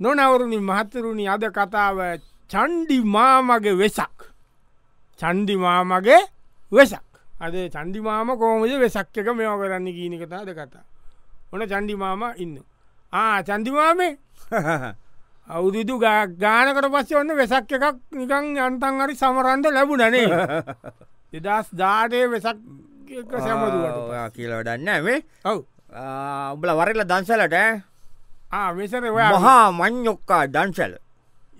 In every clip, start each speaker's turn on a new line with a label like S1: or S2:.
S1: නොනවරුණි මහතරුණි අද කතාව චන්්ඩි මාමගේ වෙසක් චන්දිමාමගේ වෙසක් අද චන්දිමාම කෝමද වෙසක් එක මෙම කරන්න ගීන කතා අද කතා ඕන චන්දිමාම ඉන්න ආ චන්දිමාමේ අවුදුදු ගානකට පස්ස ඔන්න වෙසක් එකක් නිකං යන්තන් හරි සමරන්ද ලැබු නනේ එදස් දාටය වෙසක් එක සැමදුවට
S2: කියලව දන්න මේ
S1: ඔව්
S2: උබල වරල දන්සලට ඈ.
S1: ආ වෙසර ඔයා
S2: මහා මං්යොක්කා දන්සල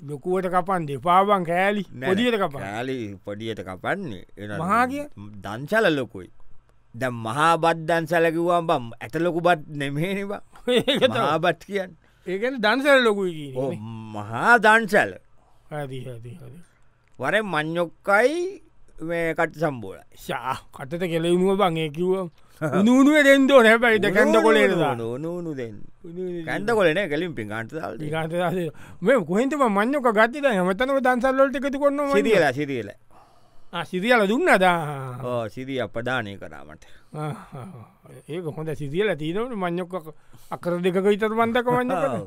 S1: ලොකුවට කපන් දෙපාවන් කෑලි පොදියට කපා
S2: ඇලි පොඩියට කපන්නේ එන
S1: මහා කිය?
S2: දංශල ලොකුයි ද මහා බත් දන්සලකිවම් බම් ඇත ලොකු බත් නෙමේනිවා මහාබත් කියන්න
S1: ඒකන දන්සර ලොකුයි
S2: ඕ,
S1: කියන
S2: මහා දන්සල
S1: හදහදහද
S2: වර මං්යොක්කයි කට සම්බෝල
S1: ශා කටට කෙලෙවුණුව බං ඒකිව නූනුව දෙෙන්දෝ නැබැයිට කැන්ද කොලේ
S2: නූනු දෙන්න කැන්ද කොලන කලින් පින් අන්තල්
S1: මේ කොහෙන්තම මං්‍යක ගත්තිද හමතනක දන්සල්ලොට එකතු කොන්න
S2: සිදියල සිදියල
S1: සිරියල දුන්න දා
S2: ඕ සිදී අපදානය කරාමට
S1: ඒක හොඳ සිදියල තිීනවට මං්‍යොක අකර දෙකක විතර බන්තක මං්ඥ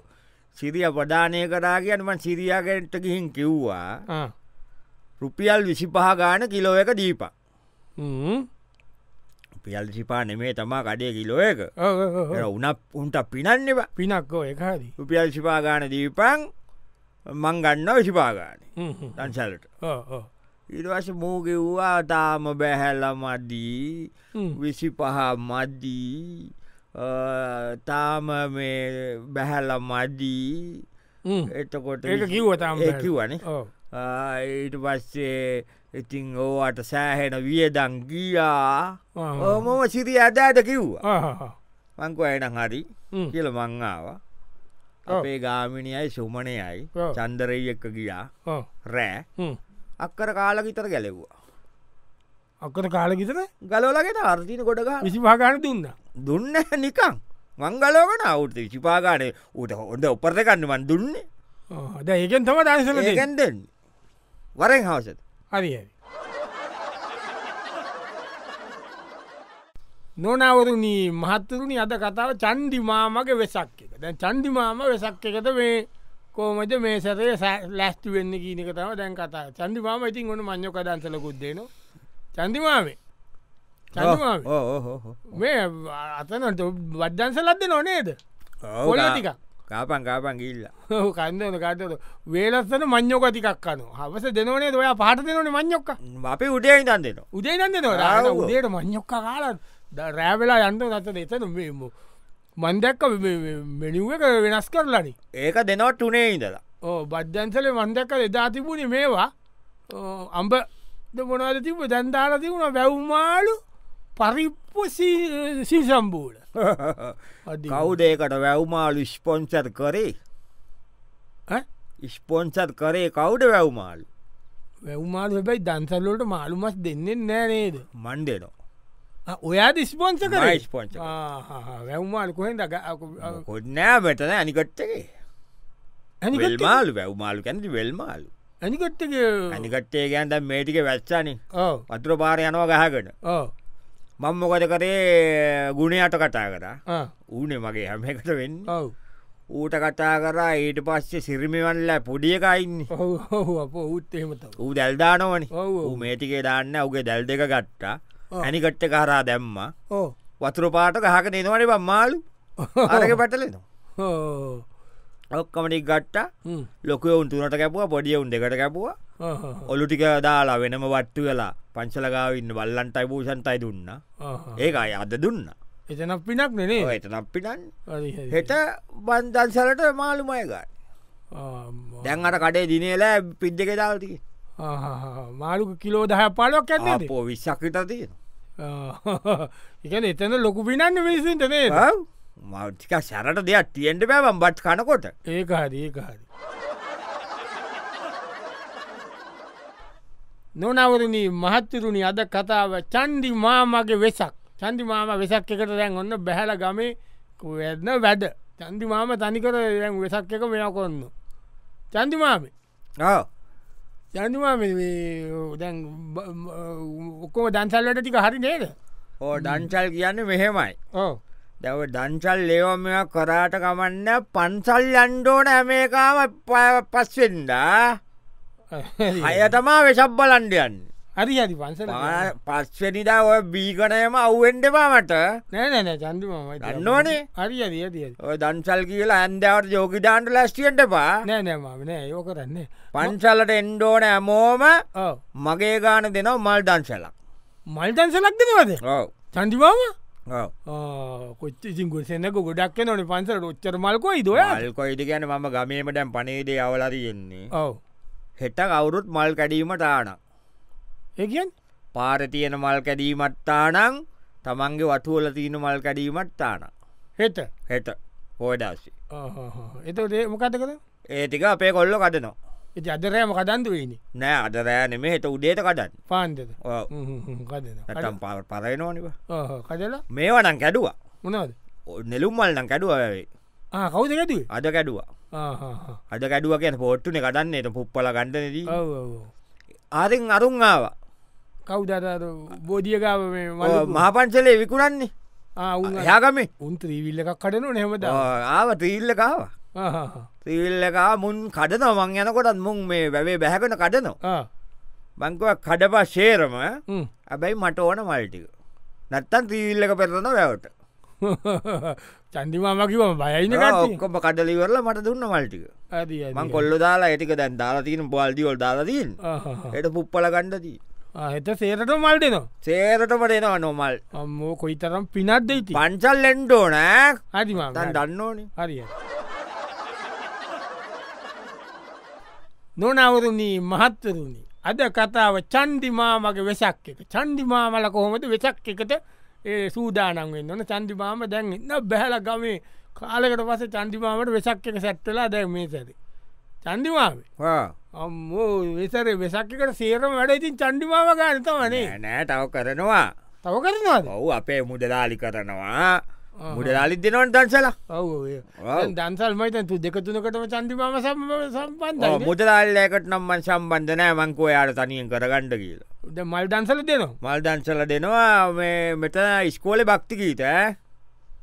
S2: සිරිය ප්‍රධානය කරා කියන්නමන් සිරියාගෙන්ට ගිහින් කිව්වා රුපියල් විසිපහ ගාන කිලෝ එක දීපා පියල් සිපා නෙමේ තමා කඩේ කිලෝ එක උනක් උන්ට පිනන්නවා
S1: පිනක්කෝ එකහදී
S2: රුපියල් සිපාගාන දීපන් මං ගන්න විසිපාගාන තන්සලට ඉරවස මූගෙව්වා තාම බැහැල්ල මදී විසි පහ මදී තාම මේ බැහැල මදී එතකොට
S1: ඒක කිව්ව තාම බැහැල.
S2: කිවන
S1: ඕ
S2: ඊට පස්සේ ඉතිං ඕවට සෑහෙන වියදං ගියා
S1: ආ.
S2: ඕමම සිරිය අදෑට කිව්වා
S1: ආහහ.
S2: මංකු අයන හරි
S1: හ්ම්.
S2: කියල මංආාව
S1: ඔව්.
S2: අපේ ගාමිණියයි සුමනයයි
S1: ඔව්.
S2: චන්දරයි එක්ක ගියා
S1: ඔව්.
S2: රෑ
S1: හ්ම්.
S2: අක්කර කාලකිතර ගැලෙව්වා
S1: අක්කට කාලකිතර
S2: ගලෝලගෙට අර්තින කොටගා
S1: විසි පාගාන දුන්න
S2: දුන්න නිකං මංගලෝගන අවුට ශිපාගානය ඌට හොඳ උපරතකන්නවන් දුන්නේ
S1: ද ඒකෙන් තම දන්සල දෙන්න.
S2: ඒකන් දෙන්න වරෙන් හවසත
S1: හරි හරි නොනවරුණී මහත්තරුණි අද කතාව චන්දිමාමගේ වෙසක් එක දැන් චන්දිමාම වෙසක් එකද මේ කෝමද මේ සරේ ලැස්ති වෙන්න ගීනකතාව දැන් කතා චන්දිමාම ඉතින් ඔොන මං්්‍යක දන්සලකුද්දේන චන්දිමාමේ චන්දිමාමේ මේ අතනට වද්දන්සලත්ද නොනේද පොලටික
S2: කාපන් කාපන් ගිල්ල
S1: කන්දන කාටද වේලස්සන මං්‍යෝක තිකක් කනු හවස දෙනවනේ ඔයා පහට දෙනවන මං්යොක්ක
S2: අපි උඩේ ඉතන් දෙනවා
S1: උදේ දන්න
S2: ආව්.
S1: උදේට මං්යොක්ක කාලත් රෑවෙලා යන්ත නත එතන මේම මන්දැක්ක මෙනිුව එක වෙනස් කරලනි
S2: ඒක දෙනවට ටුනේ ඉඳලා
S1: ඕ බද්ධන්සල මන්දැක්ක එදා තිබුණි මේවා ඕ, අම්බ මොනවද තිබ දැන්දාල තිබුණ බැව්මාලු පරිප්පු සිල් සම්බූල
S2: කවුදේකට වැැව්මාලු ස්පොන්සර් කරේ ස්පොන්සර් කරේ කවුඩ වැැව්මාල්
S1: වැව්මාල හැබැයි දන්සල්ලට මාළුමස් දෙන්නේ නෑනේද
S2: මන්ඩෙනෝ
S1: ආ, ඔයා දිස්පොන්ස කර
S2: මා ස්පොන්සර් කරේ.
S1: වැව්මාල් කොහෙන් දක
S2: කොඩ්නෑ වැටන අනිකට්ටගේ වෙල්මාලු වැැව්මාලු කැනති වෙල්මාලු
S1: ඇනිකොට්ටක
S2: අනිකට්ටේ ගැන්ද මේටික වැච්චානේ
S1: ඕ
S2: වතුර පාර යනවා ගහකට
S1: ඕ
S2: මං මොකද කරේ ගුණයට කතා කරා
S1: ආ,
S2: ඌනේ මගේ හැම එකට වෙන්න
S1: ඔව්
S2: ඌට කතා කරා ඊට පස්සේ සිරිමිවල්ල පොඩියකයින්න
S1: ඔහු ඔහු අප උත් එහෙමතව
S2: ඌ දැල්දානවනි
S1: ඔව් ඔව්.
S2: ඌ මේටිකේ දාන්න උගේ දැල් දෙක ගට්ටා
S1: ආ.
S2: ඇනිකට්ට කරා දැම්ම
S1: ඕ
S2: වතුර පාට ගහක දෙනවනේ බම් මාලු අරක පැටලෙනවා
S1: ඕ
S2: ඔක්කමටි ගට්ටා
S1: හ්ම්.
S2: ලොකය උන්තුනට කැපුවා පොඩිය උන් දෙකට කැපුවා
S1: ආහා.
S2: ඔලු ටික දාලා වෙනම වට්ටු වෙලා පංචලගාවන්න වල්ලන්ටයි පූෂන්තයි දුන්න
S1: ආහා.
S2: ඒක අය අද දුන්න
S1: එතන පිනක් නෙනේ
S2: එත නප්පිටන්
S1: හරි, හරි.
S2: හෙට බන්දන්සලට මාළුමයගන්න
S1: ආ, ම-
S2: දැන් අට කඩේ දිනේලා පිද් දෙක දාල්තික
S1: ආහා. මාළුක කිලෝ දහ පාලක් ඇන්නද
S2: පෝ විශ්ක්විත තියෙන
S1: එක එතන ලොකු පිනන්න විසින්ට නේ
S2: මෞතික සැරට දෙයක් තියෙන්ට බෑවම් බට් කනකොට
S1: ඒක හරි ඒක හරි නොනවරණී මහත්තරුණි අද කතාව චන්දි මාමගේ වෙසක් චන්දි මාම වෙසක් එකට දැන් ඔන්න බැහැල ගමේ වැන්න වැඩ චන්දි මාම තනිකර දැන් වෙසක් එක මෙයා කොන්න චන්දිමාමේ
S2: ආ,
S1: චන්දිමාම දැන් ඔක්කොම දන්සල්ලට ටික හරි නේද
S2: ඕ ඩන්චල් කියන්න මෙහෙමයි
S1: ඕ
S2: දැව දංචල් ලේව මෙ කරාට කමන්න පන්සල් යන්ඩෝන ඇමේකාම පස්වෙන්ඩා අය තමා වෙසක් බලන්ඩයන්
S1: හරි හරි පන්සල
S2: පස්වෙනිදා ඔය බීගනයම අව්වෙන්ඩපා මට
S1: නෑනෑ චන්දිමම
S2: දන්නවනේ.
S1: හරි හරි ඇති
S2: ඔය දංචල් කියලා ඇන්දවට යෝගිධාන්ට ලැස්ටියෙන්ට පා
S1: නෑනෑම නෑ යෝ කරන්නේ
S2: පන්සල්ලට එන්ඩෝන ඇමෝම
S1: ඕ
S2: මගේ ගාන දෙනව මල් දංශලක්
S1: මල්තන්සලක් දෙනවද
S2: ඔව
S1: චන්දිමාම
S2: ඔව
S1: කොච්ච සිංගුසෙන්න්නක ගොඩක් නොන පන්සල ඔච්චර මල්කොයි දොය
S2: අල්කොයිට ගැන මම ගමීම දැම් පනේදේ අවලරයෙන්නේ
S1: ඔව
S2: හෙට කවුරුත් මල් කැඩීමට ආනක්
S1: ඒකන්
S2: පාරතියන මල් කැඩීමත්තානං තමන්ගේ වටුවල තියන මල් කැඩීමත්තාන
S1: හෙට
S2: හෙට පෝඩාසි
S1: එතේ මොකත කර
S2: ඒතික අපේ කොල්ල කටනවා
S1: එති අදරෑම කදන්දුවේනි
S2: නෑ අදරෑනෙම හෙට උඩේට කටන්න
S1: පාන්දද
S2: ඔව්.
S1: කදන
S2: නැත්තම් ප- පරයනෝනිව
S1: කදලා
S2: මේවනං කැඩුවා
S1: මොනවද
S2: ඔ- නෙළුම් මල්නම් කැඩුව ඇවේ
S1: කවුද ගැතුවේ
S2: අද කැඩුවා අද කැඩුව කියෙන පෝට්ටුන කටන්නේට පුප්පල ගණඩනදී ආරෙන් අරුන්ආවා
S1: කවුදර බෝධියකාව
S2: මහපන්සලේ විකුණන්නේ යාගමේ
S1: උන්ත්‍රීවිල්ල එකක් කටනු නෙමද
S2: ආව ත්‍රීල්ලකාව ත්‍රීල්ලකා මුන් කඩන මං යනකොටත් මුන් මේ වැැවේ බැහැකන කඩනවා බංකුව කඩපා ශේරම ඇබැයි මට ඕන මල්ටික නැත්තන් තීවිල්ලක පෙරන වැවට
S1: චන්දිමාමකිවම බයයින කට
S2: ඔක්කොම කඩලිවරල මට දුන්න මල්ටික මං කොල්ල දාලා ඇතික දැන් දාලාතින බල්ඩිවල් දාලාතින් එට පුප්පල ගණ්ඩදී
S1: හෙත සේරට මල් දෙනවා
S2: සේරටමට එනවා නොමල්
S1: අම්මෝ කොයි තරම් පිනත් දෙයිති
S2: පංචල් එෙන්ඩෝ නෑ
S1: හරිමා
S2: තන් දන්න ඕනි
S1: හරිය නොනවරුණී මහත්තරුණි අද කතාව චන්දිමා මගේ වෙසක් එක චන්දිමාමල කොහොමද වෙසක් එකට ඒ සූදානන් වෙන්න ඕන චන්දිමාම දැන් එන්න බැහල ගමේ කාලකට පස චන්දිමාමට වෙසක් එක සැට්ටලා දැ මේ සැරේ චන්දිමාවේ අම්මෝ වෙසර වෙසක් එකට සේරම වැඩ ඉතින් චන්ඩිමාව ගනතමනේ
S2: නෑ තව කරනවා
S1: තව කරනවාද
S2: ඔවු අපේ මුදලාලි කරනවා මුඩලාලිත් දෙනවන් දන්සලා
S1: ඔව දන්සල් මයිතන් තු දෙකතුනකටම චන්දිමාම සම් සම්පන්ධ
S2: මුදලාල්ලකට නම්මන් සම්බන්ධනෑ මංකෝ යාට තනියෙන් කරගණ්ඩ කියලා
S1: මල් දන්සල දෙනවා
S2: මල් දංශල දෙනවා මේ මෙතන ඉස්කෝල භක්තිකීත ඈ.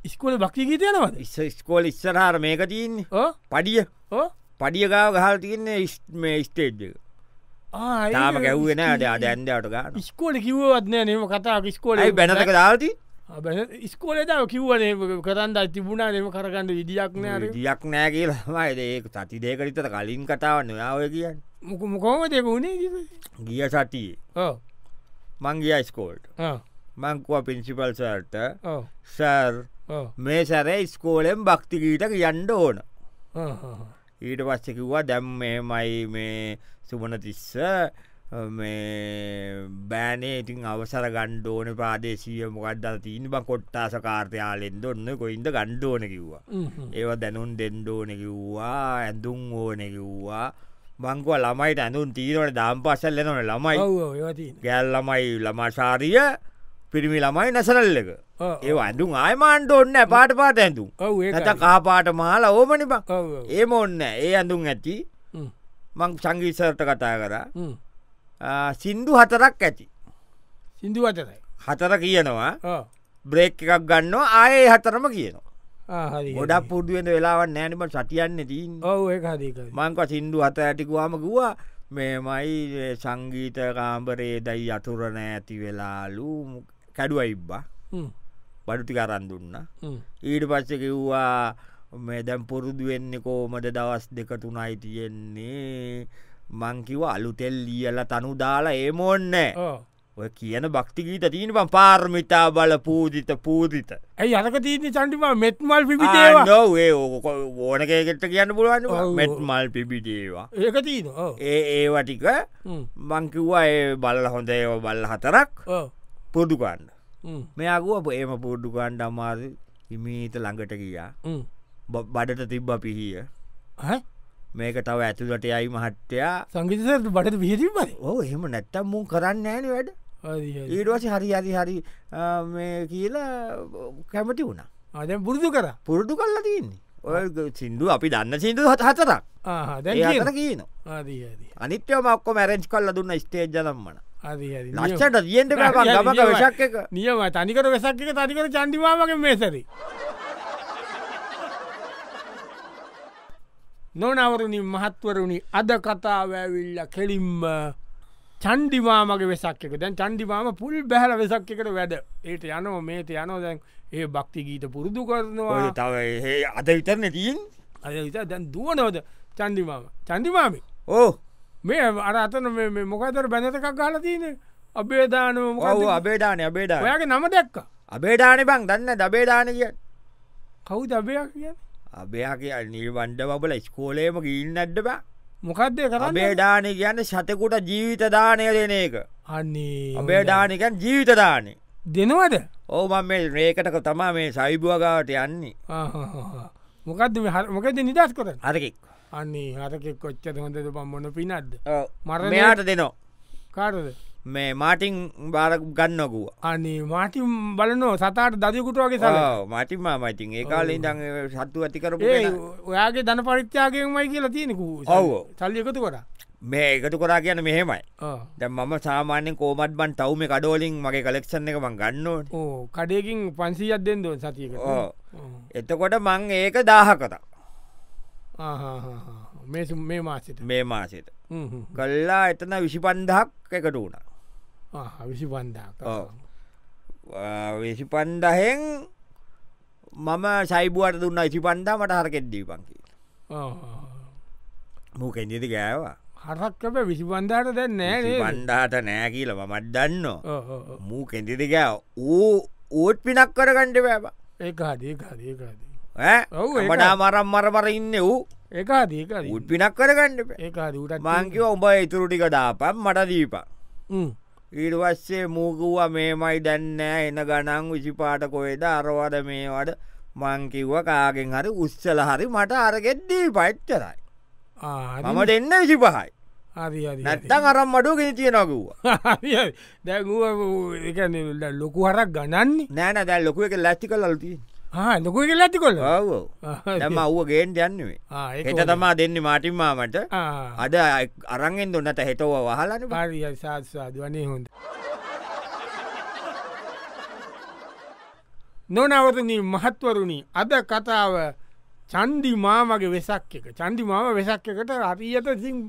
S1: ඉස්කොල භක්තිකී තියෙනවද
S2: ඉස්ස ස්කෝල ඉස්සරහර මේක තියන්නේ
S1: ඕ
S2: පඩිය
S1: ඕ
S2: පඩියගාව ගහල් තියන්නේ ඉස්- මේ ස්ටේජ්ජ
S1: ආ,
S2: තාම
S1: ඒක
S2: ගැව්වෙන අඩ
S1: ඉස්-
S2: අඩ ඇන්ඩට ගන්න
S1: ඉස්කෝල කිව්වත්නෑ නම කතාව ඉස්කෝල
S2: යි බැනක දාති
S1: ඉස්කෝලතාව කිව්වනේ කරන්න තිබුණා නම කරගන්න විදිියක් නෑ
S2: දියක් නෑ කියලාමයි ඒක සති දේකරිතට කලින් කතාව නොයාව කියන්න
S1: මොක මොකෝම දෙක වුණේ කිව්වේ?
S2: ගිය සතියේ
S1: ඔව්,
S2: මංගිය ස්කෝල්ට
S1: ඔව්,
S2: මංකුව පින්සිිපල් සර්ට
S1: ඔව්,
S2: සර්
S1: ඔව්,
S2: මේ සැරේ ස්කෝලෙන් භක්තිකීට කියන්න ඕන
S1: ඔව්, ඔව්.
S2: ඊට පස්සකිව්වා දැම් මෙමයි මේ සුමන තිස්ස මේ බෑනේ ඉතින් අවසර ගණ්ඩෝන පාදේශීය මොකක්දල් තිීන බ කොට්ටාස කාර්තයාලෙන්ද ඔන්න කොයින්ද ගණ්ඩෝන කිව්වා
S1: හ්ම්, හ්ම්.
S2: ඒව දැනුන් දෙන්ඩෝන කිව්වා ඇඳුම් ඕන කිව්වා බංකුව ළමයිට ඇඳුන් තීරවට දාම් පසල් එනන ළමයි
S1: ඔව්, ඔව්, ඒවා තියෙනවා.
S2: ගැල් ළමයි ළමශාරිය පිරිමි ළමයි නැසරල්ලක
S1: ඔව්,
S2: ඒ ඇඳුම් ආයමාන්ට ඔන්න පාට පාට ඇඳුම්
S1: ඔව්, ඒකයි.
S2: නැත කාපාට මහලා ඕමනි බක්
S1: ඔව්, ඔව්.
S2: ඒම ඔන්න ඒ ඇඳුම් ඇති
S1: හ්ම්,
S2: මං සංගීසර්ට කතා කර
S1: හ්ම්.
S2: සින්දු හතරක් ඇති
S1: සිින්දු අතරයි
S2: හතර කියනවා
S1: ඕ,
S2: බ්‍රේක් එකක් ගන්නවා ආයේ හතරම කියනවා
S1: ආ, හරි, හරි.
S2: ගොඩක් පුඩුවෙන් වෙලාවන් නෑනම සටියන්න තින්
S1: ඔව් ඒක හදකයි
S2: මංක සින්දු හත ඇටිකුවාම ගවා මෙමයි ඒ සංගීත කාම්බරේ දයි අතුරණ ඇති වෙලාලු කැඩුව ඉබ්බා බඩුටි කරන් දුන්න ඊට පස්ස කිව්වා මේ දැම් පුරුදු වෙන්න කෝමට දවස් දෙක තුනයි තියෙන්නේ මංකිව අලුතෙල් ලියල තනු දාලා ඒමෝන්න ඔය කියන භක්තිගීත තියන පම් පාර්මිතා බල පූජිත පූදිත
S1: ඇයි අරක තීන චන්ටිමා මෙත්මල් පිපිටේවා
S2: නොවේ ඕ ඕනකෙට කියන්න පුළුවන්
S1: ඔව්.
S2: මෙත් මල් පිබිටේවා
S1: ඒක තිීන ඕ
S2: ඒ ඒවටික මංකිව්වා ඒ බල්ල හොඳ ඒ බල්ල හතරක්
S1: ඕ
S2: පුඩුකන්න මෙයාගුව ඒම පුඩ්ඩුකන්්ඩ අමාර හිමීත ළඟට ගියා බ- බඩට තිබ්බ පිහිය මේක තව ඇතුලට යයි මහත්තයා
S1: සංගිතසට බට විහිතිබයි
S2: ඕ එහෙම නැත්තම් මුන් කරන්න ෑන වැඩ ඊඩුවස හරි හරි හරි ආ, මේ කියලා කැමති වුණා
S1: අද පුරුදු කර
S2: පුරුදු කල්ලා තියන්නේ ඔය ග- සින්දු අපි දන්න සිින්දු හත හතරක් ඒතර කියන අනිත්‍යම ඔක්කො මැරෙන්ච් කල්ල දුන්න ස්ටේජලම්මන ලස්සට දියෙන්ට
S1: හරි,
S2: ගමක
S1: නියමයි.
S2: විශක් එක
S1: නියම තනිකර වෙසක් එක තනිකර චන්ඩිමාවගේ මේසරි නොනවරුණින් මහත්වරුණි අද කතාව ඇවිල්ල කෙලින්ම චන්ඩිමාමගේ වෙසක් එක දැන් චන්ඩිමාම පුල් බැහල වෙසක් එකට වැඩ ඒට යනෝ මේට යනෝ දැන් ඒ භක්ති ගීත පුරුදු කරනවා
S2: ඔය තව ඒ අද විතරන තියෙන්
S1: අද විතා දැන් දුවනවද චන්දිමාම චන්දිමාමි
S2: ඕ
S1: මේ අර අතන මේ- මේ මොකතර බැනතකක් ගහල තියන අබේදානම
S2: ඔව අබේඩානය අබේඩා
S1: ඔයාගේ නම දැක්ක
S2: අබේඩානය බං දන්න දබේඩාන කිය
S1: කවුද අබයක් කිය
S2: අබයාගේ නිර්වන්ඩ බබල ස්කෝලේම ගින්න අඩ්ඩබ
S1: මොකක්දය කරන්න
S2: අබේඩාන කියන්න සතකුට ජීවිත දානය දෙන එක
S1: අන්නේ
S2: අබේඩානකන් ජීවිත දානය
S1: දෙනවද
S2: ඕමන් මේ රේකටක තමා මේ සයිබුවගාවට යන්නේ
S1: ආහහහ. මොකක්ද මේ හර- මොකද නිදස් කරන්න
S2: අරකෙක්
S1: අන්නේ හරකෙක් කොච්චද හොඳද පම්මොන පිනත්ද මරණය-
S2: මෙයාට දෙනෝ
S1: කාරද
S2: මේ මාටිං බාරක් ගන්නකුව
S1: අනේ මාටිම් බලනෝ සතාට දදිකුට වගේ සල
S2: මටිම මයිතින් ඒ කාලින් දඟ සත්තු ඇතිකරපු
S1: ඒ
S2: කෙනා.
S1: ඔයාගේ ධන පරිත්‍යාගයමයි කියලා තියෙනෙකු
S2: ඔව්.
S1: සල්ලි එකතු කර
S2: මේ එකතු කරා කියන මෙහෙමයි දැ මම සාමාන්‍යෙන් කෝමට බන් තවම කඩෝලින් මගේ කලෙක්ෂන් එක මං ගන්නඕන
S1: ඕ කඩයකින් පන්සීයක් දෙෙන් දොන් සතියක
S2: ඕ. එතකොට මං ඒක දාහ කතා
S1: මේ සු- මේ මාසට
S2: මේ මාසයට කල්ලා එතන විසි පන්දහක් එකට වුණ
S1: විසි පන්දාක
S2: ඔව්. විසි පන්ඩහෙන් මම සයිබුවට දුන්න ඉසි පන්ඩා මට හරකෙද්දී පංකි මූකෙන්දිති ගෑවා
S1: හරක්කප විසි පන්ධාට දැන් නෑ
S2: පන්ඩාට නෑ කියල මමත් දන්න මූ කෙන්දිති ගෑ ඌ ඌත් පිනක් කරගණ්ඩ බෑවා
S1: ඒක හදේක හදේකද ඔව් ඒක.
S2: මඩා මරම් මරමර ඉන්න වූ
S1: ඒක දීක
S2: උත් පිනක් කරගණ්ඩ
S1: ඒක දට
S2: මාංකිව උඹ ඉතුරුටික දාපම් මට දීපා ඊට පස්සේ මූකුවා මේමයි දැන්නෑ එන ගණන් විසිපාට කොේද අරවාද මේවට මංකිව්ව කාගෙන් හරි උත්සල හරි මට අරගෙද්දී පච්චරයි මම දෙන්න විසිපහයි
S1: හරි හරි හරි.
S2: නැත්තං අරම් මඩුගෙන තියෙනකුවා
S1: හරි, හරි. දැන් ඌ ඒ කියන්නේ ල- ලොකු හරක් ගණන්නේ
S2: නෑන දැල් ලොකුව එක ලැස්ටි කල්ලති
S1: හා ලොකු කියල ඇති කොල්ල
S2: ඔවෝ දැම අව්ව ගේන් යන්නුවේ හෙට තමා දෙන්න මාටින්මාමට අද අ- අරන්ගෙන් දුන්නට හෙටව වහලන
S1: පාරිය සාත්සාද වනේ හොඳ නොනවතනී මහත්වරුණි අද කතාව චන්දි මාමගේ වෙසක් එක චන්දි මාම වෙසක් එකට අරියට සිං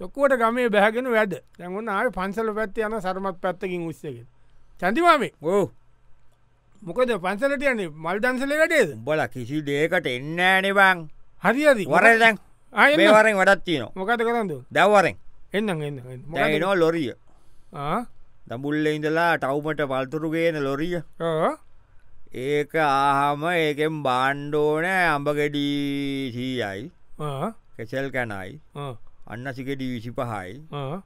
S1: ලොකුවට ගමේ බැහගෙන වැඩ දැන්වන්න ආය පන්සල පැත්ත යන සරමත් පැත්තකින් උස්සක චන්දිමාමේ
S2: ඕ
S1: මොකද පන්සලට යන්නේ මල් දන්සලේ වැඩේද
S2: උඹල කිසි දේකට එන්නෑනෙබං
S1: හරිද
S2: වරදැන්
S1: ආයවර
S2: මේවරෙන් වඩත් තියනවා
S1: මොකද කරන්න
S2: දැවරෙන්
S1: එන්න එන්න එන්න. මොකද-
S2: දැනෝ ලොරිය
S1: ආ?
S2: දඹුල්ල ඉඳලා ටව්මට පල්තුරුගේන ලොරිය
S1: ඔව්.
S2: ඒක ආහම ඒකෙන් බාණ්ඩෝනෑ අඹගෙඩීසීයයි
S1: ආ.
S2: කෙසෙල් කැනයි
S1: ආ.
S2: අන්න සිකෙඩි විසි පහයි
S1: ආ.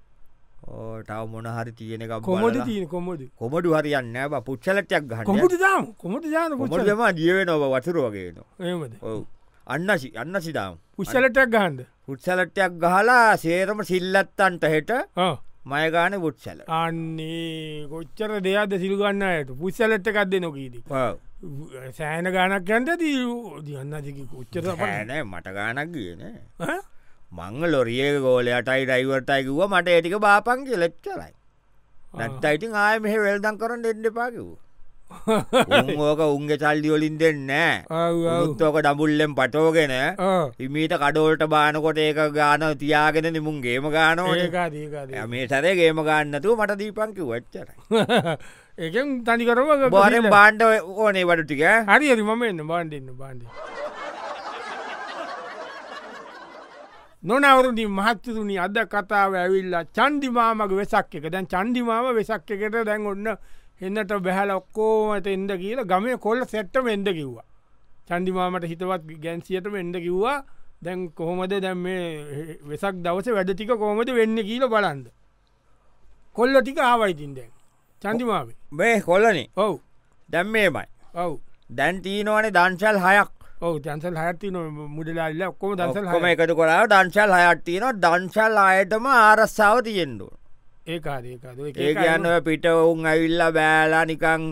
S2: ටව මොනහරි තියෙනක
S1: කොමඩ තියන කොමඩ
S2: කොමඩු හරියන්න බ පුච්චලටයක් ගහන්න
S1: කොමට දාම කොමට ජාන පුචල
S2: කොමටම දියව නොව වතුර වගේන
S1: ඒමද
S2: ඔව අන්න සි- අන්න සිතාම්
S1: පුෂ්ලටක් ගහන්ද
S2: පුච්චලටයක් ගහලා සේරම සිල්ලත්තන්ට හෙට මයගාන පුච්චල
S1: අන්නේ කොච්චර දෙයක්ද සිල්ගන්න යට පුෂ්ලට්ට එකක් දෙ නොකීදී සෑන ගානක් යන්ට දී දියන්නදක කොච්චර
S2: නෑ මට ගානක් කියන මංග ලොරිය ගෝලයටයි රයිවර්ටයිකිව මට ඒටික බාපන් කෙලෙත් කරයි නැත්තයිටි ආය මෙහ වෙල්දන් කරන්න එන්න පාකිව ඕක උන්ගේ සල්දි වලින් දෙන්නෑ උත්තෝක ඩඹුල්ලෙන් පටෝගෙන හිමීට කඩෝල්ට බානකොට ඒක ගාන තියාගෙන නිමුන් ගේම ගානෝට
S1: ඒකාදකාද
S2: මේ සරේ ගේම ගන්නතුව මට දීපංකි වච්චර
S1: ඒකෙන් තනිකරම
S2: බෝරෙන් බාණ්ඩ ඕනේ වඩු ටික
S1: හරි හරි මම එන්න බාන්ඩන්න බාන්ඩ නොනවරුදි මහත්තතුනි අද කතාව ඇවිල්ලා චන්දිමාමක වෙසක් එක දැන් චන්දිමාම වෙසක් එකට දැන් ඔන්න එන්නට බැහල ඔක්කෝමට එන්ඩ කියලා ගමය කොල්ල සැට්ටම එන්ඩ කිව්වා චන්දිමාමට හිතවත් ගැන්සියටම එන්ඩ කිව්වා දැන් කොහොමද දැම් මේ වෙසක් දවස වැඩටික කොහොමද වෙන්න කියල බලන්ද කොල්ල ටික ආවයිතින් දැන් චන්දිමාවේ
S2: මේ කොල්ලනේ
S1: ඔව්
S2: දැම් මේමයි
S1: ඔව්
S2: දැන් තිීනවනේ දංශල් හයක්
S1: ඔව දන්සල් හයත්ති නො මුඩලාල්ල ඔක්කොම දන්සල්
S2: කොම
S1: හය
S2: එකතු කොලා දංශල් හයක්තියන දංශල් අයටම ආරස්සාාව තියෙන්ඩු
S1: ඒකාදේකාද
S2: ඒ කියන්න ඔය පිට ඔවුන් ඇවිල්ල බෑලා නිකං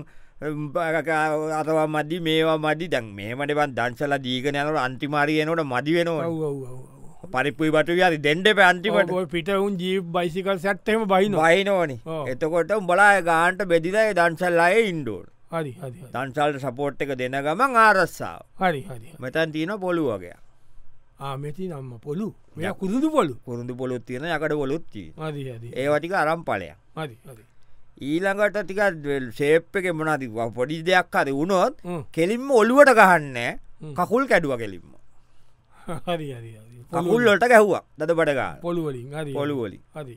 S2: අතවා මදි මේවා මදි දැන් මේමටබන් දංශල දීගෙන යනට අන්තිමාරියනට මදි වෙනවා පරිපපුයි බටු අරි දෙන්ඩ පැන්තිමට
S1: පිට උන් ජී බයිසිකල් සැත්තම බයින
S2: වයිනෝනි
S1: ඔව්.
S2: එතකොට උඹලා ගාන්ට බෙදිලයි දංශල් අය ඉන්ඩෝල්
S1: හරි හරි හරි.
S2: දංශල්ට සපෝට් එක දෙන ගමන් ආරස්සාාව
S1: හරි හරි
S2: මෙතැන් තියන පොළු වගේ
S1: මෙති නම්ම පොලු මෙ කුරුදු පොලු
S2: කුරුදු පොලොත් තියෙන යකට පොලොත්ති
S1: මද ඇද
S2: ඒවටික අරම් පලයක්
S1: මදි හරි.
S2: ඊළඟට ටික සේප් එක මනාති පොඩි දෙයක් හරි වුණොත්
S1: හ්ම්.
S2: කෙලින්ම ඔලුවට ගහන්න
S1: හ්ම්.
S2: කකුල් කැඩුව කෙලින්ම
S1: හරි හරි හරි.
S2: කකුල්ලොට ගැහ්වා දත පටගා
S1: පොළුවලින් හරි
S2: පොළුවලි
S1: හරි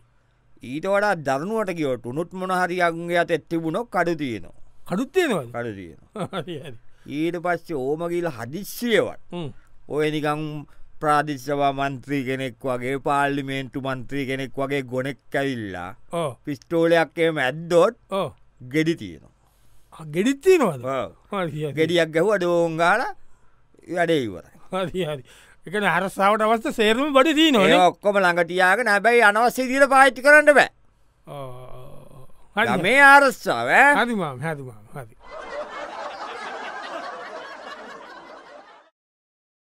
S2: ඊට වඩා දරුණුවට ගියොට උනුත් මොනහරියන්ගේ අත එත්තිබුණොක් කඩු තියෙනවා
S1: කඩුත්තේනවද
S2: කඩු තියෙන
S1: හරි හරි
S2: ඊට පස්සේ ඕමගිල් හදිස්සියවට
S1: හ්ම්.
S2: ඔය නිකං ප්‍රාධිශ්‍යවා මන්ත්‍රී කෙනෙක් වගේ පාල්ලිමේන්තු මන්ත්‍රී කෙනෙක් වගේ ගොනෙක් ඇවිල්ලා
S1: ඕ
S2: පිස්ටෝලයක්ේ මැද්දොත්
S1: ඕ
S2: ගෙඩි තියෙනවා
S1: ගෙඩිත්තේනවද
S2: ඔව්.
S1: හරි හරි.
S2: ගෙඩියක් ගැහුව ඩෝංගාල වැඩේ ඉවර
S1: හරි හරි එක අරස්සාාවට අවස්ථ සේරම බඩි දී නොන
S2: ඔක්කොම ළඟටියයාග නැබැයි අනවස්සේ දිර පාච්චි කරන්න බෑ
S1: හරි
S2: මේ ආරස්සාාව
S1: හරිමම් හැතුමම් හරි